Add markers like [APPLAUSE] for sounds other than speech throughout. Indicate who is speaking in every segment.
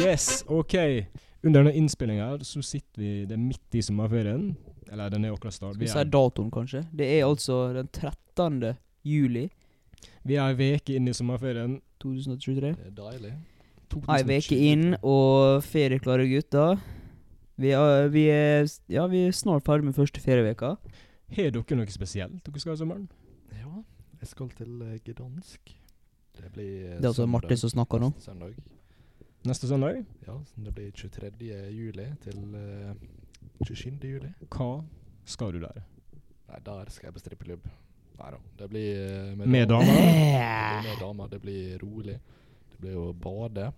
Speaker 1: Yes, OK. Under denne innspillinga her, så sitter vi det er midt i sommerferien. Eller den er akkurat start.
Speaker 2: Skal vi si datoen, kanskje? Det er altså den 13. juli
Speaker 1: vi er ei uke inn i sommerferien.
Speaker 2: 2023.
Speaker 3: Det er deilig.
Speaker 2: Ei uke inn, og ferieklare gutter. Vi er, vi er, ja, vi er snart ferdig med første ferieveka.
Speaker 1: Har dere noe spesielt dere skal i sommeren?
Speaker 3: Ja, jeg skal til eh, Gdansk. Det blir eh,
Speaker 2: Det er altså
Speaker 3: søndag.
Speaker 2: Marte som snakker nå.
Speaker 3: Neste Søndag.
Speaker 1: Neste søndag?
Speaker 3: Ja, så det blir 23. juli til eh, 27. juli.
Speaker 1: Hva skal du der?
Speaker 3: Nei, der skal jeg på strippeklubb. Nei da. Det blir eh,
Speaker 1: Med
Speaker 3: dam-
Speaker 1: damer?
Speaker 3: Det blir med damer. Det blir rolig. Det blir å bade.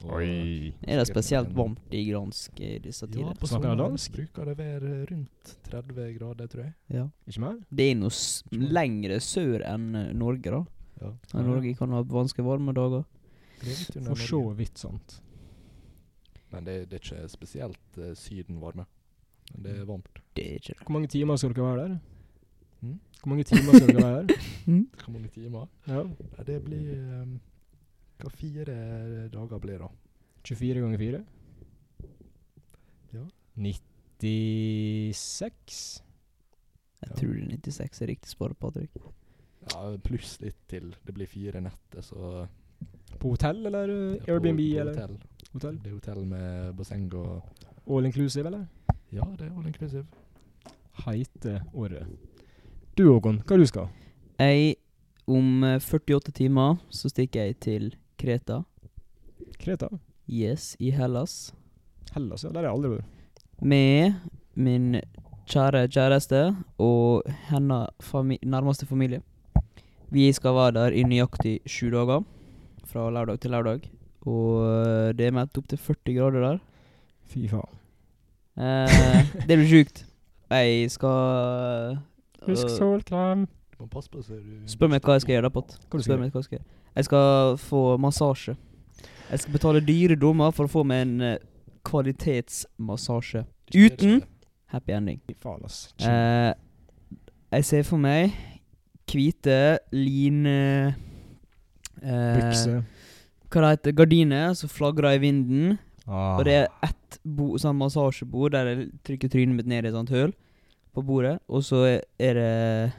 Speaker 3: Og-
Speaker 2: Er det spesielt varmt i Gransk i disse
Speaker 3: Ja,
Speaker 2: tider?
Speaker 3: på
Speaker 1: Snakker jeg
Speaker 3: sommeren
Speaker 1: dansk?
Speaker 3: bruker det være rundt 30 grader, tror jeg.
Speaker 2: Ja.
Speaker 1: Ikke mer?
Speaker 2: Det er noe s lengre sør enn eh, Norge, da.
Speaker 3: Ja.
Speaker 2: Ja, Norge kan ha vanskelig varme dager.
Speaker 3: Det er litt under
Speaker 1: For så
Speaker 3: Norge.
Speaker 1: vidt sant.
Speaker 3: Men det, det er ikke spesielt eh, sydenvarme. Men det er varmt.
Speaker 2: Det er ikke det.
Speaker 1: Hvor mange timer skal dere være der?
Speaker 3: Mm?
Speaker 1: Hvor mange timer skal dere
Speaker 3: [LAUGHS]
Speaker 1: være der?
Speaker 3: Hvor mange timer?
Speaker 1: Ja.
Speaker 3: Nei, det blir um, Hva fire dager blir det, da?
Speaker 1: 24 ganger 4?
Speaker 3: Ja.
Speaker 1: 96?
Speaker 2: Jeg tror det er 96 er riktig svar, Patrick.
Speaker 3: Ja, Pluss litt til. Det blir fire netter, så
Speaker 1: På hotell, eller
Speaker 3: det er
Speaker 1: eh,
Speaker 3: på-
Speaker 1: Airbnb,
Speaker 3: på
Speaker 1: eller
Speaker 3: Hotell.
Speaker 1: hotell?
Speaker 3: Det er hotell med basseng og
Speaker 1: All inclusive, eller?
Speaker 3: Ja, det er all inclusive.
Speaker 1: Heite året. Du Håkon, hva du skal?
Speaker 2: Jeg, om eh, 48 timer, så stikker jeg til Kreta.
Speaker 1: Kreta?
Speaker 2: Yes, i Hellas.
Speaker 1: Hellas, ja. Der har jeg aldri vært.
Speaker 2: Med min kjære kjæreste og hennes fami nærmeste familie. Vi skal være der i nøyaktig sju dager, fra lørdag til lørdag. Og eh, det er meldt opp til 40 grader der.
Speaker 1: Fy faen.
Speaker 2: Eh, det blir sjukt. Jeg skal eh,
Speaker 1: solkrem.
Speaker 3: Du må passe på så du
Speaker 2: Spør meg hva jeg skal gjøre der på.
Speaker 1: Hva du skal
Speaker 2: Spør meg hva jeg skal gjøre. Jeg skal få massasje. Jeg skal betale dyre dommer for å få meg en eh, kvalitetsmassasje. Uten? Happy ending.
Speaker 1: Fy faen, ass. Shit.
Speaker 2: Eh, jeg ser for meg hvite line... eh,
Speaker 1: Bukse.
Speaker 2: Hva det heter Gardiner som flagrer i vinden.
Speaker 1: Ah.
Speaker 2: Og det er ett bo, sånn massasjebord der jeg trykker trynet mitt ned i et sånt høl på bordet. Og så er- er det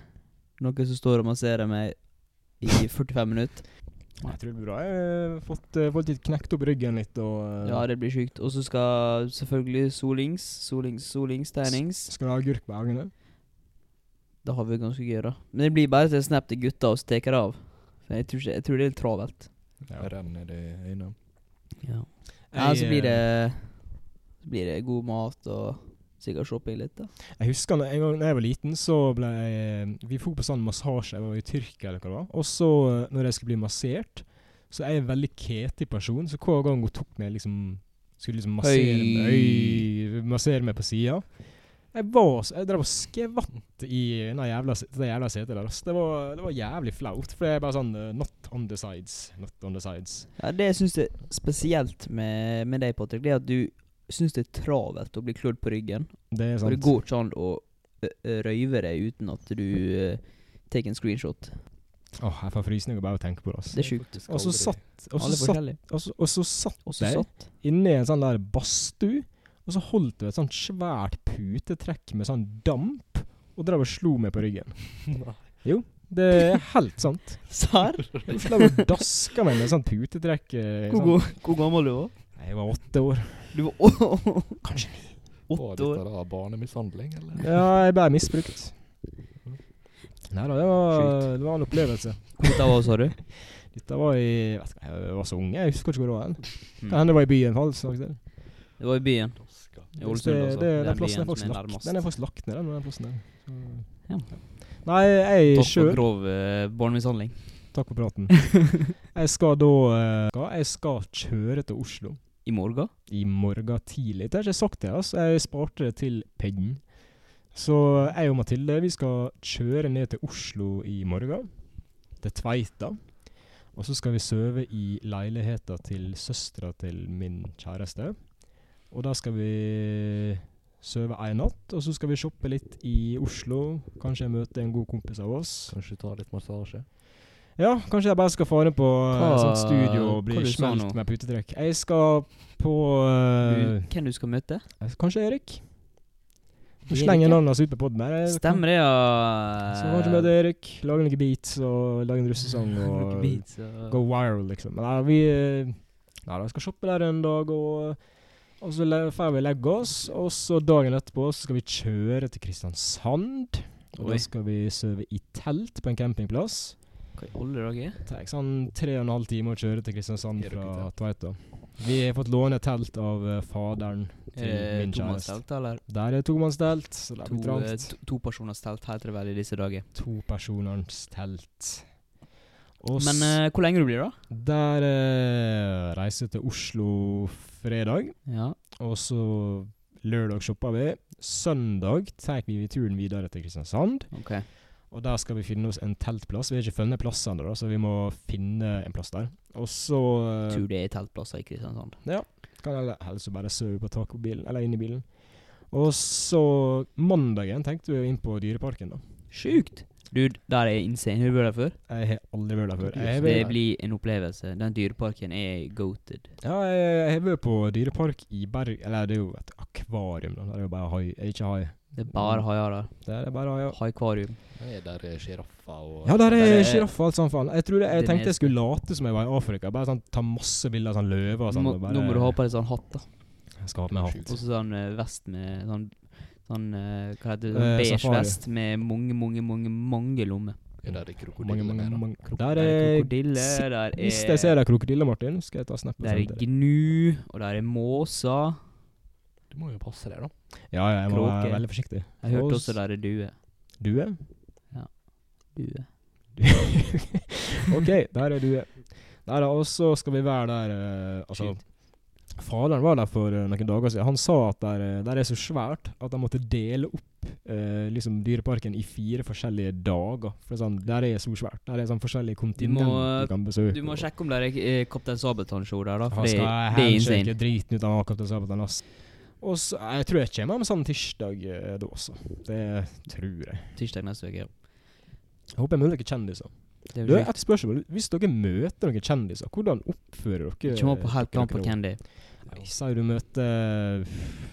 Speaker 2: noen som står og masserer meg
Speaker 1: [LAUGHS]
Speaker 2: i 45 minutter.
Speaker 1: Ah, Jeg tror det blir bra. Jeg har fått, eh, fått litt knekt opp ryggen litt og eh,
Speaker 2: Ja, det blir sjukt. Og så skal selvfølgelig solings, solings, solings, tegnings.
Speaker 1: Skal du ha agurk på øynene?
Speaker 2: Da har vi det ganske gøy, da. Men det blir bare til snap til gutta og så tar jeg det av. For jeg tror, ikke, jeg tror det er litt travelt.
Speaker 1: Ja.
Speaker 3: Renner det innom.
Speaker 2: Ja. ja, så blir
Speaker 1: eh,
Speaker 2: det Så blir det god mat og sikkert shopping litt, da.
Speaker 1: Jeg husker når- en gang da jeg var liten, så ble jeg Vi dro på sånn massasje, jeg var i Tyrkia eller hva det var. Og så, eh, når jeg skulle bli massert Så jeg er en veldig ketig person, så hver gang hun tok meg liksom Skulle liksom massere,
Speaker 2: Oi.
Speaker 1: meg, Oi, massere meg på sida Jeg var så Jeg drev og skvatt i den jævla, se- det jævla setet der. ass. Det var, det var jævlig flaut. For det er bare sånn eh, Not on the sides. Not on the sides.
Speaker 2: Ja, Det jeg syns er spesielt med, med deg, Patrick, det er at du syns det er travelt å bli klødd på ryggen.
Speaker 1: Det er
Speaker 2: Og
Speaker 1: sant.
Speaker 2: det går ikke an å ø, ø, røyve deg uten at du ø, tar en screenshot.
Speaker 1: Åh, jeg får frysninger bare av å tenke på det. ass.
Speaker 2: Det er sjukt.
Speaker 3: Faktisk
Speaker 1: Og så
Speaker 3: aldri-
Speaker 1: satt, og så
Speaker 2: Alle er
Speaker 1: satt,
Speaker 2: forskjellige.
Speaker 1: og så- og så satt
Speaker 2: Også
Speaker 1: der.
Speaker 2: satt.
Speaker 1: inni en sånn der badstue, og så holdt du et sånt svært putetrekk med sånn damp, og drev og slo meg på ryggen.
Speaker 3: Nei.
Speaker 1: Det er helt sant. [LAUGHS]
Speaker 2: Serr?
Speaker 1: Du drev og daska meg med sånn putetrekk. eh,
Speaker 2: Hvor,
Speaker 1: Sånn.
Speaker 2: go- hvor gammel du var
Speaker 1: Nei, Jeg var åtte år.
Speaker 2: du? var å-
Speaker 1: Kanskje
Speaker 3: Var
Speaker 2: Åtte år.
Speaker 3: dette da barnemishandling, eller?
Speaker 1: Ja, jeg ble misbrukt. Nei da, det var, det var en opplevelse.
Speaker 2: Hvor gammel var, sa du?
Speaker 1: Dette var i vet ikke, Jeg var så unge, jeg husker ikke hvor det var. hen.
Speaker 2: Mm.
Speaker 1: Kan hende det var i byen. for all slags del.
Speaker 2: Det var i byen.
Speaker 3: Daska.
Speaker 2: I
Speaker 1: Det,
Speaker 2: Ålesund, altså.
Speaker 1: det,
Speaker 2: Den
Speaker 1: den plassen er
Speaker 2: byen som
Speaker 1: faktisk
Speaker 2: er
Speaker 1: lagt,
Speaker 2: nærmest.
Speaker 1: den er faktisk lagt ned, den, den plassen der. Så,
Speaker 2: Ja.
Speaker 1: Nei, jeg
Speaker 2: Takk
Speaker 1: sjøl
Speaker 2: for grov eh, ø, barnemishandling.
Speaker 1: Takk for praten. jeg skal da eh, skal- Jeg skal kjøre til Oslo
Speaker 2: I morgen?
Speaker 1: i morgen tidlig. Det har jeg ikke sagt til deg, altså. Jeg sparte det til pennen. Så eh, jeg og Mathilde vi skal kjøre ned til Oslo i morgen. Til Tveita. Og så skal vi sove i leiligheta til søstera til min kjæreste. Og da skal vi sove ei natt, og så skal vi shoppe litt i Oslo. Kanskje jeg møter en god kompis av oss.
Speaker 3: Kanskje ta litt massasje?
Speaker 1: Ja, kanskje jeg bare skal fare på eh,
Speaker 2: Hva-
Speaker 1: sånt studio og bli
Speaker 2: hva du sa
Speaker 1: smelt
Speaker 2: nå?
Speaker 1: med putetrekk. Jeg skal på eh,
Speaker 2: Du- Hvem du skal møte?
Speaker 1: Kanskje Erik? Du
Speaker 2: Erik,
Speaker 1: slenger
Speaker 2: ja.
Speaker 1: navnet hans ut på poden her. Jeg-
Speaker 2: Stemmer det, ja.
Speaker 1: Så kanskje møte Erik, lage noen beats og lage en russesang og
Speaker 2: Noen Eh, beats og-
Speaker 1: go viral, liksom. Men nei, vi eh, nei, da, skal shoppe der en dag, og, eh, og så le- drar vi og legger oss. Og så dagen etterpå så skal vi kjøre til Kristiansand. Og
Speaker 2: Oi.
Speaker 1: da skal vi sove i telt på en campingplass.
Speaker 2: Hva i alle dager?
Speaker 1: Det tar sånn tre og en halv time å kjøre til Kristiansand
Speaker 3: Er dere
Speaker 1: fra
Speaker 3: telt?
Speaker 1: Tveita. Vi har fått låne telt av eh, faderen til
Speaker 2: Er
Speaker 1: min
Speaker 2: det
Speaker 1: kjæreste.
Speaker 2: Eh, tomannstelt, eller?
Speaker 1: Der er tomannstelt, så det
Speaker 2: To,
Speaker 1: blir
Speaker 2: eh,
Speaker 1: trangt.
Speaker 2: to, to personers telt heter det vel i disse dager.
Speaker 1: Topersoners telt. Og
Speaker 2: Men eh, hvor lenge du blir, da?
Speaker 1: Der eh, reiser jeg til Oslo fredag,
Speaker 2: Ja.
Speaker 1: og så lørdag shopper vi. Søndag tar vi turen videre til Kristiansand,
Speaker 2: Ok.
Speaker 1: og der skal vi finne oss en teltplass. Vi har ikke funnet plass ennå, da, så vi må finne en plass der. Og så eh,
Speaker 2: Tror det er teltplasser i Kristiansand.
Speaker 1: kan jeg le- helst bare sove på taket på bilen, eller inne i bilen. Og så mandagen tenkte vi jo inn på Dyreparken, da.
Speaker 2: Sjukt! Dude, der er insane. Har du vært der før?
Speaker 1: Jeg har aldri vært der før. Jeg har
Speaker 2: Det
Speaker 1: vært-
Speaker 2: blir en opplevelse. Den dyreparken er goated.
Speaker 1: Ja, jeg, jeg har vært på dyrepark i Berg... Eller det er jo et akvarium, da. Det er jo bare hai. eh, Ikke hai.
Speaker 2: Det er bare haier der.
Speaker 1: Det er bare Mm. ja.
Speaker 2: Haikvarium.
Speaker 3: Nei, der er sjiraffer og
Speaker 1: Ja, der
Speaker 2: Der
Speaker 1: er
Speaker 2: er-
Speaker 1: sjiraffer og alt sånt. faen. Jeg tror det, jeg
Speaker 2: Det
Speaker 1: tenkte jeg
Speaker 2: neste.
Speaker 1: skulle late som jeg var i Afrika. Bare sånn, ta masse bilder av sånn løver og sånn.
Speaker 2: Nå
Speaker 1: og bare,
Speaker 2: nå må du ha på deg sånn hatt, da.
Speaker 1: Jeg skal ha på meg hatt.
Speaker 2: Og så sånn eh, vest med sånn Sånn eh, Hva heter det?
Speaker 1: Eh,
Speaker 2: Sånn beige
Speaker 1: safari.
Speaker 2: vest med mange, mange, mange mange lommer.
Speaker 3: Er der er
Speaker 1: Mange, mange,
Speaker 3: krokodiller.
Speaker 1: mange.
Speaker 2: Der
Speaker 1: Der
Speaker 2: er
Speaker 1: er
Speaker 2: krokodiller, der
Speaker 1: Hvis jeg ser
Speaker 2: er
Speaker 1: deg Sånn. krokodille, Martin, skal jeg ta snap og
Speaker 2: Der
Speaker 1: sende
Speaker 2: er
Speaker 1: til deg.
Speaker 2: gnu, og der er måser.
Speaker 3: Du må jo passe deg, da.
Speaker 1: Ja, ja, jeg må være
Speaker 2: Kråke.
Speaker 1: veldig forsiktig.
Speaker 2: Jeg hørte
Speaker 1: Og
Speaker 2: også der er due.
Speaker 1: Due?
Speaker 2: Due.
Speaker 1: [LAUGHS] OK, der er due. Nei da, og så skal vi være der eh, Altså, faderen var der for eh, noen dager siden. Han sa at der, eh, der er så svært at de måtte dele opp eh, liksom dyreparken i fire forskjellige dager. For sånn, der er så svært. Der er sånn forskjellige kontinent du,
Speaker 2: må-
Speaker 1: kan besøke.
Speaker 2: Du må
Speaker 1: og-
Speaker 2: sjekke om det er eh, Kaptein Sabeltann-show der, da. For
Speaker 1: Han
Speaker 2: det,
Speaker 1: skal
Speaker 2: det er
Speaker 1: handshake
Speaker 2: insane.
Speaker 1: driten ut av Jakob til Sabeltann, ass. Og så, jeg tror jeg kommer med sånn tirsdag eh, da også. Det tror jeg.
Speaker 2: Tirsdag neste uke. ja.
Speaker 1: Jeg håper jeg møter noen kjendiser.
Speaker 2: Det
Speaker 1: Du,
Speaker 2: blir
Speaker 1: et spørsmål. Hvis dere møter noen kjendiser, hvordan oppfører dere
Speaker 2: Kommer på helt
Speaker 1: dere
Speaker 2: plan på
Speaker 1: da?
Speaker 2: Candy.
Speaker 1: Nei, Si du møter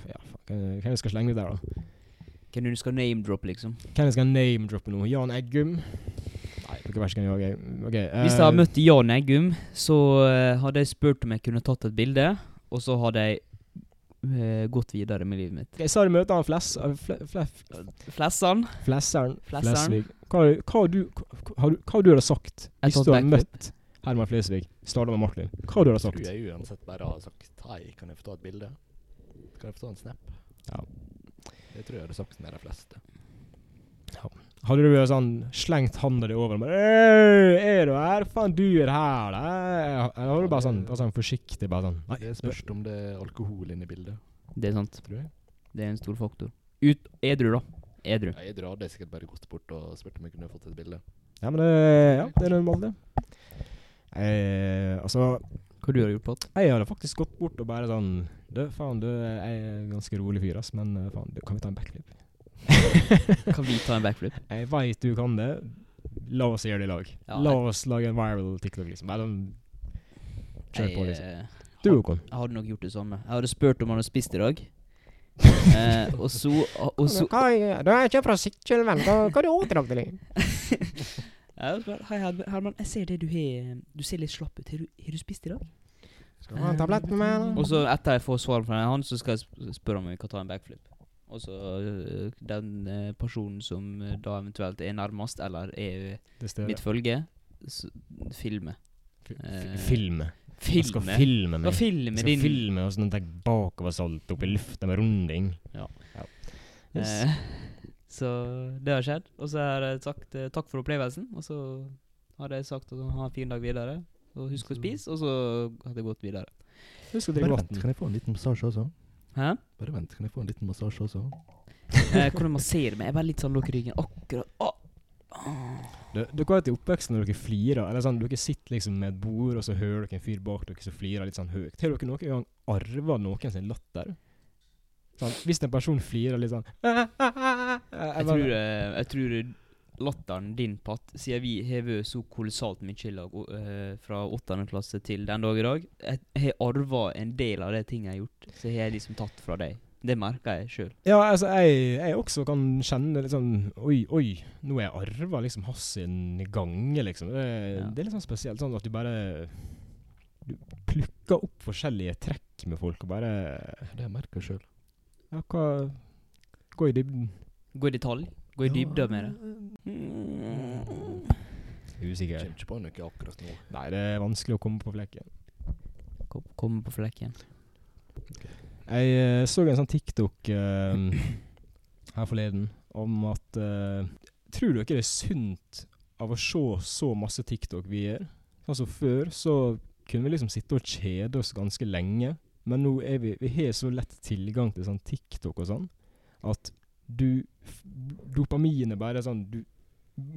Speaker 1: Ja, faen, hvem jeg skal slenge ut der, da?
Speaker 2: Hvem du skal name-drop, liksom.
Speaker 1: Hvem jeg skal name-droppe nå? Jan Eggum? Nei, dere verste kan jeg. Okay, eh,
Speaker 2: Hvis jeg hadde møtt Jan Eggum, så eh, hadde jeg spurt om jeg kunne tatt et bilde, og så hadde jeg eh, gått videre med livet mitt.
Speaker 1: Ok, Sa du møter han Fless... eh, Fle, fle,
Speaker 2: Flessan?
Speaker 1: flesseren?
Speaker 2: Flesseren.
Speaker 1: Flesvig. Hva, hva, har du, hva, har du, hva du hadde sagt
Speaker 2: Jeg
Speaker 1: hvis
Speaker 2: tar
Speaker 1: du hadde
Speaker 2: backflip.
Speaker 1: møtt Herman Flesvig, Stardam og Martin? Hva du hadde
Speaker 3: Tror
Speaker 1: sagt?
Speaker 3: jeg uansett bare har sagt hei, kan jeg få ta et bilde? Kan jeg få ta en snap?
Speaker 1: Ja.
Speaker 3: Det tror jeg hadde sagt med de fleste.
Speaker 1: Hadde du vært sånn slengt handa di over og bare «Øy, Er du her? Faen, du er her, da. Eller hadde du bare sånn, bare sånn forsiktig bare sånn Nei,
Speaker 3: Det spørs om det er alkohol inne i bildet,
Speaker 2: Det er sant.
Speaker 3: tror jeg.
Speaker 2: Det er en stor faktor. Ut edru, da. Edru.
Speaker 3: Ja, jeg drar det sikkert bare gått bort og spurt om jeg kunne fått et bilde.
Speaker 1: Ja, men det, ja, det er normalt, det. Eh, altså,
Speaker 2: Hva du har gjort, Pott?
Speaker 1: jeg hadde faktisk gått bort og bare sånn Du, faen, du jeg er en ganske rolig fyr, ass, men eh, faen, du, kan vi ta en backflip?
Speaker 2: Kan vi ta en backflip?
Speaker 1: Jeg veit du kan det. La oss gjøre det i lag.
Speaker 2: Ja,
Speaker 1: La
Speaker 2: jeg-
Speaker 1: oss lage en viral TikTok, liksom. Bare sånn Kjør på,
Speaker 2: Jeg,
Speaker 1: liksom.
Speaker 2: eh,
Speaker 1: Du, Håkon.
Speaker 2: Jeg hadde nok gjort det samme. Jeg hadde spurt om han hadde spist i dag. [LAUGHS] eh, og så og så [LAUGHS]
Speaker 1: Du er ikke fra Sykkylven. Hva har du spist i dag?
Speaker 2: Jeg hadde spurt, Hei, Herman, Herman, jeg ser det du har Du ser litt slapp ut. Har du, har du spist i dag?
Speaker 1: Skal du ha en tablett med meg, eller?
Speaker 2: Og så etter jeg får svar fra han, så skal jeg sp- spørre om vi kan ta en backflip. Og så øh, den øh, personen som øh, da eventuelt er nærmest, eller er øh,
Speaker 1: Det står
Speaker 2: mitt følge, s- filme. eh,
Speaker 1: Filme. Jeg skal
Speaker 2: Filme?
Speaker 1: filme
Speaker 2: Hva
Speaker 1: meg. Jeg
Speaker 2: filme
Speaker 1: skal
Speaker 2: din?
Speaker 1: filme og sånn at jeg bakoversalt opp i lufta med runding.
Speaker 2: Ja.
Speaker 1: Yes.
Speaker 2: Eh, [LAUGHS] så det har skjedd. Og så har jeg sagt eh, takk for opplevelsen. Og så hadde jeg sagt at ha en fin dag videre. Og husk å spise. Og så hadde jeg gått videre.
Speaker 1: Husk å drikke
Speaker 3: Bare
Speaker 1: vann.
Speaker 3: vent, kan jeg få en liten massasje også?
Speaker 2: Hæ?
Speaker 3: Bare vent, kan jeg få en liten massasje også?
Speaker 2: Eh, hvordan masserer meg? Jeg er bare litt sånn lukk i ryggen. Akkurat. Å!
Speaker 1: Det- Dere har et i oppveksten når dere flirer, eller sånn, dere sitter liksom med et bord, og så hører dere en fyr bak dere som flirer litt sånn høyt. Har dere noen gang arva noen sin latter? Sånn, hvis en person flirer litt sånn [LAUGHS] Jeg
Speaker 2: Jeg tror, eh, jeg tror latteren din, Pat, siden vi har vært så kolossalt mye i lag og, eh, fra åttende klasse til den dag i dag, jeg har arva en del av de tingene jeg har gjort, så har jeg liksom tatt fra deg. Det merker jeg sjøl.
Speaker 1: Ja, altså, jeg, jeg også kan kjenne litt sånn Oi, oi, nå har jeg arva liksom hans sin gange, liksom. Det,
Speaker 2: Ja.
Speaker 1: det er litt sånn spesielt, sånn at du bare Du plukker opp forskjellige trekk med folk og bare
Speaker 3: Det jeg merker sjøl.
Speaker 1: Ja, hva Gå i dybden.
Speaker 2: Gå i detalj. Gå i
Speaker 1: Ja. eh,
Speaker 2: dybde med det. Mm.
Speaker 1: Usikker.
Speaker 3: Kommer ikke på noe akkurat nå.
Speaker 1: Nei, det er vanskelig å komme på flekken.
Speaker 2: Kom- Komme på flekken.
Speaker 1: Jeg eh, så en sånn TikTok eh,
Speaker 3: Mm.
Speaker 1: her forleden om at eh, Tror dere det er sunt av å se så masse TikTok vi gjør? Altså Før så kunne vi liksom sitte og kjede oss ganske lenge, men nå er vi Vi har så lett tilgang til sånn TikTok og sånn at du f- Dopaminet bare er sånn Du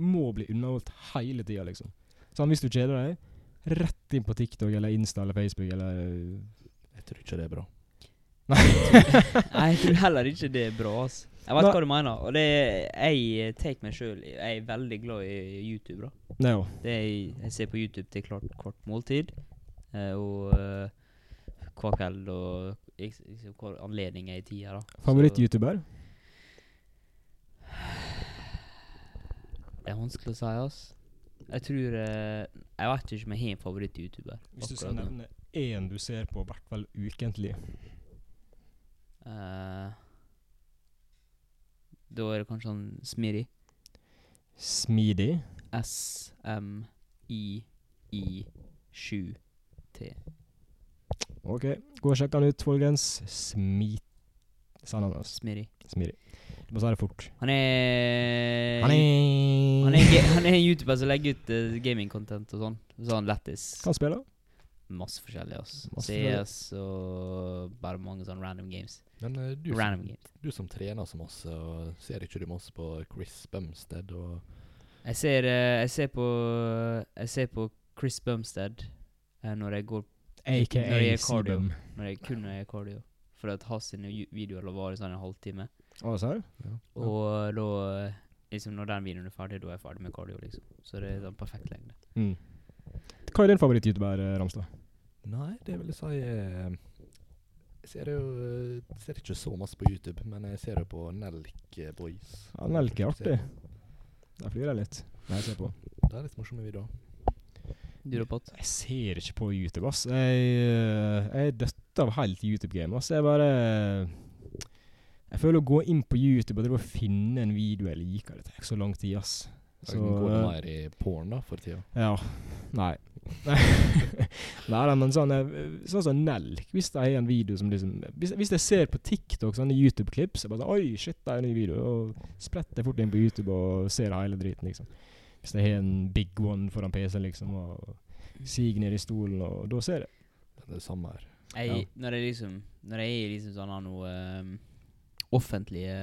Speaker 1: må bli underholdt hele tida, liksom. Sånn, hvis du kjeder deg, rett inn på TikTok eller Insta eller Facebook eller
Speaker 3: Jeg tror ikke det er bra.
Speaker 2: Nei, jeg tror heller ikke det er bra. ass. Jeg vet
Speaker 1: Nei.
Speaker 2: hva du mener. Og det jeg tar meg sjøl Jeg er veldig glad i YouTube. da
Speaker 1: Nei, jo.
Speaker 2: Det jeg, jeg ser på YouTube til klart kvart måltid. eh, og eh, hver kveld og ik- liksom hver anledning er i tida, da. Så
Speaker 1: Favoritt-YouTuber?
Speaker 2: Det er vanskelig å si, ass. Jeg tror eh, Jeg vet ikke om jeg har en favoritt-YouTuber.
Speaker 1: Hvis du skal
Speaker 2: akkurat nå.
Speaker 1: nevne én du ser på, i hvert fall ukentlig.
Speaker 2: Eh, Da er det kanskje sånn Smiri.
Speaker 1: Smidig.
Speaker 2: S-M-I-I-7-T.
Speaker 1: OK, gå og sjekk han ut, folkens. Smit... Sa han altså.
Speaker 2: Smiri.
Speaker 1: Smidig. Du må si det fort.
Speaker 2: Han er
Speaker 1: Han er
Speaker 2: han er, ge- han er en YouTuber som legger ut eh, gaming-content og sånn. Sånn lættis.
Speaker 1: Kan spille.
Speaker 2: Masse forskjellig, ass.
Speaker 1: Masse forskjellig.
Speaker 2: CS og bare mange sånne random games.
Speaker 3: Men eh, du, som,
Speaker 2: Random games.
Speaker 3: du som trener så masse, og ser ikke du masse på Chris Bumstead og
Speaker 2: Jeg ser, eh, jeg ser på Jeg ser på Chris Bumstead eh, når jeg går Når
Speaker 1: AKA
Speaker 2: jeg er cardio.
Speaker 1: Sebum.
Speaker 2: Når jeg kun er cardio. For at hans sine ju- videoer varer sånn en halvtime.
Speaker 1: Hva sa du?
Speaker 2: Og da eh, Liksom Når den videoen er ferdig, da er jeg ferdig med cardio, liksom. Så det er sånn perfekt lengde.
Speaker 1: Mm. Hva er din favoritt-YouTuber, eh, Ramstad?
Speaker 3: Nei, det vil jeg si eh, Jeg ser jo eh, ser ikke så masse på YouTube, men jeg ser jo på Nelk eh, Boys.
Speaker 1: Ja, Nelk er artig.
Speaker 3: Ser
Speaker 1: Der flyr jeg litt. Nei, jeg ser på.
Speaker 3: på- Det er litt morsomme videoer.
Speaker 2: Du da, Pat?
Speaker 1: Jeg ser ikke på YouTube, ass. Jeg, eh, jeg er dødt av helt YouTube-game, ass. Jeg bare Jeg føler å gå inn på YouTube og drive og finne en video jeg liker, det tar så lang tid, ass. eh,
Speaker 3: Så går det mer i porn da, for tida.
Speaker 1: Ja. Nei. [LAUGHS] Nei, nei, men sånn eh, Sånn som Nelk. Hvis det er en video som liksom Hvis, hvis jeg ser på TikTok sånne YouTube-klipp, så er jeg bare sånn Oi, shit, det er en ny video. Og spretter jeg fort inn på YouTube og ser hele driten, liksom. Hvis jeg har en big one foran PC-en, liksom, og siger ned i stolen, og da ser jeg.
Speaker 3: Det er det samme her.
Speaker 2: Jeg,
Speaker 1: Ja.
Speaker 2: Når jeg liksom Når jeg er i liksom sånne noe ehm, offentlige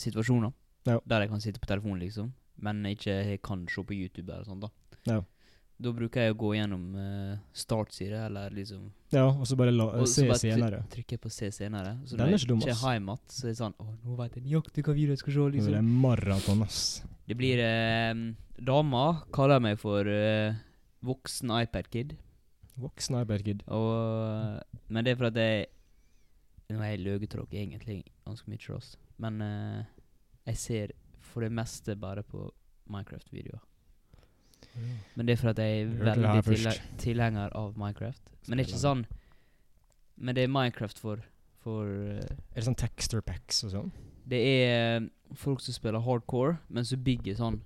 Speaker 2: situasjoner,
Speaker 1: Ja.
Speaker 2: der jeg kan sitte på telefonen, liksom, men ikke jeg kan se på YouTube eller sånt, da.
Speaker 1: Ja.
Speaker 2: Da bruker jeg å gå gjennom uh, startside, eller liksom
Speaker 1: Ja, og så bare la,
Speaker 2: Og så
Speaker 1: se
Speaker 2: bare try-
Speaker 1: senere.
Speaker 2: trykker jeg på se senere. Så
Speaker 1: Den er
Speaker 2: når
Speaker 1: ikke dum,
Speaker 2: jeg
Speaker 1: ass.
Speaker 2: ikke er hjemme igjen, så er det sånn Å, nå vet jeg nøyaktig hva video jeg skal se,
Speaker 1: Nå er
Speaker 2: liksom.
Speaker 1: Det er maraton, ass.
Speaker 2: Det blir eh, Dama kaller meg for eh, voksen iPad-kid.
Speaker 1: Voksen iPad-kid.
Speaker 2: Og, eh, men det er for at jeg Nå er jeg løgetråkk egentlig ganske mye til oss. Men eh, jeg ser for det meste bare på Minecraft-videoer. Men det er for at jeg er
Speaker 1: Du hørte det
Speaker 2: veldig
Speaker 1: her
Speaker 2: tilhe
Speaker 1: først.
Speaker 2: tilhenger av Minecraft. Men det er ikke sånn Men det er Minecraft for For eh,
Speaker 1: Er det sånn texture packs og sånn?
Speaker 2: Det er eh, folk som spiller hardcore, men som bygger sånn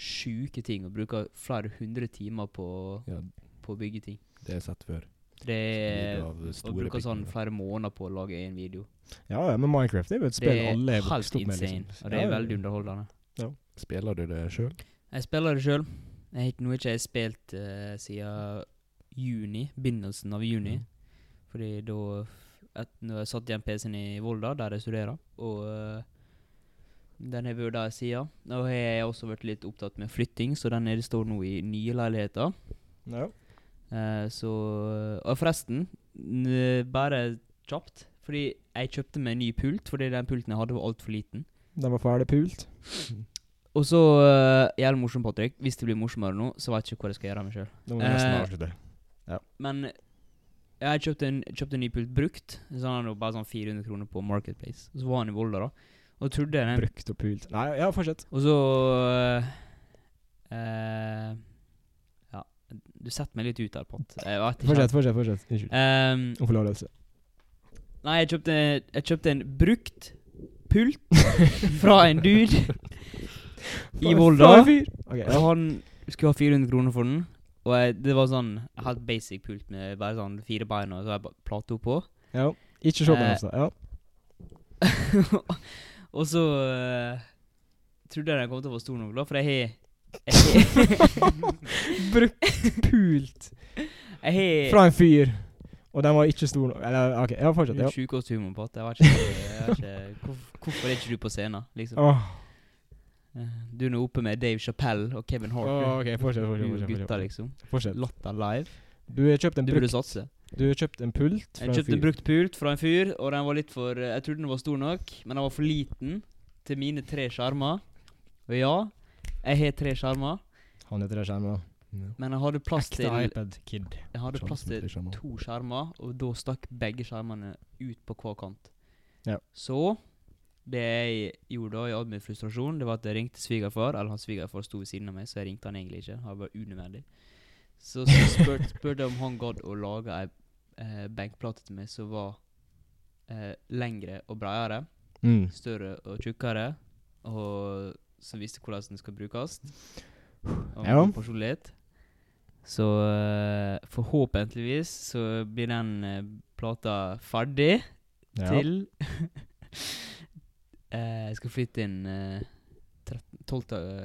Speaker 2: sjuke ting og bruker flere hundre timer på,
Speaker 3: Ja,
Speaker 2: på å bygge ting.
Speaker 3: det har jeg sett før.
Speaker 2: Det er
Speaker 3: Video av
Speaker 2: Og
Speaker 3: store
Speaker 2: bruker sånn
Speaker 3: bygninger.
Speaker 2: flere måneder på å lage en video.
Speaker 1: Ja, ja, men Minecraft er jo et
Speaker 2: Det
Speaker 1: spill
Speaker 2: er
Speaker 1: alle er
Speaker 2: helt
Speaker 1: vokst opp med.
Speaker 2: insane,
Speaker 1: liksom.
Speaker 2: og det
Speaker 1: Ja,
Speaker 2: er
Speaker 1: ja.
Speaker 2: veldig underholdende.
Speaker 3: Spiller du det sjøl?
Speaker 2: Jeg spiller det sjøl. Nå har ikke jeg spilt eh, siden juni, begynnelsen av juni.
Speaker 3: Mm.
Speaker 2: Fordi da et, når jeg satt igjen PC-en i Volda, der jeg studerer, og eh, den har vært der siden. Nå har jeg også vært litt opptatt med flytting, så den er, står nå i nye leiligheter.
Speaker 1: Ja.
Speaker 2: Eh, så Og forresten, n bare kjapt. Fordi jeg kjøpte meg en ny pult, fordi den pulten jeg hadde, var altfor liten.
Speaker 1: Den var ferdig pult.
Speaker 2: Og så eh, Jævlig morsom, Patrick. Hvis det blir morsommere nå, så veit jeg ikke hva jeg skal gjøre av meg sjøl.
Speaker 1: Da må vi nesten
Speaker 2: Eh,
Speaker 1: avslutte.
Speaker 2: Men jeg kjøpte en, kjøpte en ny pult brukt. Sånn han var bare sånn 400 kroner på Marketplace. Så var han i Volda, da. Og trodde den
Speaker 1: Brukt og pult. Nei, ja, fortsett.
Speaker 2: Og så eh, eh, Ja, du setter meg litt ut der, Pat. Jeg vet ikke.
Speaker 1: Fortsett, fortsett. fortsett. Unnskyld.
Speaker 2: Ehm,
Speaker 1: Om forlatelse.
Speaker 2: nei, jeg kjøpte, jeg kjøpte en brukt pult fra en
Speaker 1: [LAUGHS]
Speaker 2: dude. I Volda.
Speaker 1: Fra en fyr. Ok,
Speaker 2: Og han skulle ha 400 kroner for den. Og jeg, det var sånn Jeg hadde basic pult med bare sånn fire bein og så hadde jeg bare plate oppå. [LAUGHS]
Speaker 1: ja. Ikke se på meg,
Speaker 2: Eh,
Speaker 1: altså. Ja.
Speaker 2: og så eh, trodde jeg den kom til å være stor nok, da, for jeg har jeg har-
Speaker 1: Brukt pult
Speaker 2: Jeg har
Speaker 1: fra en fyr, og den var ikke stor nok Eller, OK, ja, fortsett. Ja.
Speaker 2: sjukehushumoren på at jeg vet ikke, jeg vet ikke hvorf- Hvorfor er ikke du på scenen, liksom?
Speaker 1: Åh,
Speaker 2: Eh, Du er nå oppe med Dave Chappelle og Kevin Hart.
Speaker 1: åh, OK, fortsett.
Speaker 2: du,
Speaker 1: fortsett,
Speaker 2: du
Speaker 1: fortsett,
Speaker 2: gutta,
Speaker 1: fortsett.
Speaker 2: liksom.
Speaker 1: fortsett.
Speaker 2: Latter live.
Speaker 1: Du har kjøpt en,
Speaker 2: Du burde
Speaker 1: brukt,
Speaker 2: satse.
Speaker 1: du har kjøpt en pult fra
Speaker 2: Jeg kjøpte en
Speaker 1: en fyr.
Speaker 2: brukt pult fra en fyr, og den var litt for eh, Jeg trodde den var stor nok, men den var for liten til mine tre skjermer. Og ja, jeg har tre skjermer,
Speaker 1: Han heter det skjermen.
Speaker 2: men jeg hadde plass til
Speaker 1: Ekte iPad-kid.
Speaker 2: Jeg hadde plass til
Speaker 3: Skjermen.
Speaker 2: to skjermer, og da stakk begge skjermene ut på hver kant.
Speaker 1: Ja.
Speaker 2: Så det jeg gjorde da i all min frustrasjon, det var at jeg ringte svigerfar. Eller hans svigerfar sto ved siden av meg, så jeg ringte han egentlig ikke. Han var unødvendig. Så, så spurte spurte jeg om han gadd å lage ei eh, benkplate til meg som var eh, lengre og bredere,
Speaker 1: Mm.
Speaker 2: større og tjukkere, og som visste hvordan den skal brukes. Og
Speaker 1: Ja.
Speaker 2: med personlighet. Så eh, forhåpentligvis så blir den eh, plata ferdig
Speaker 1: Ja.
Speaker 2: til [LAUGHS] eh, Jeg skal flytte inn eh, 13, 12.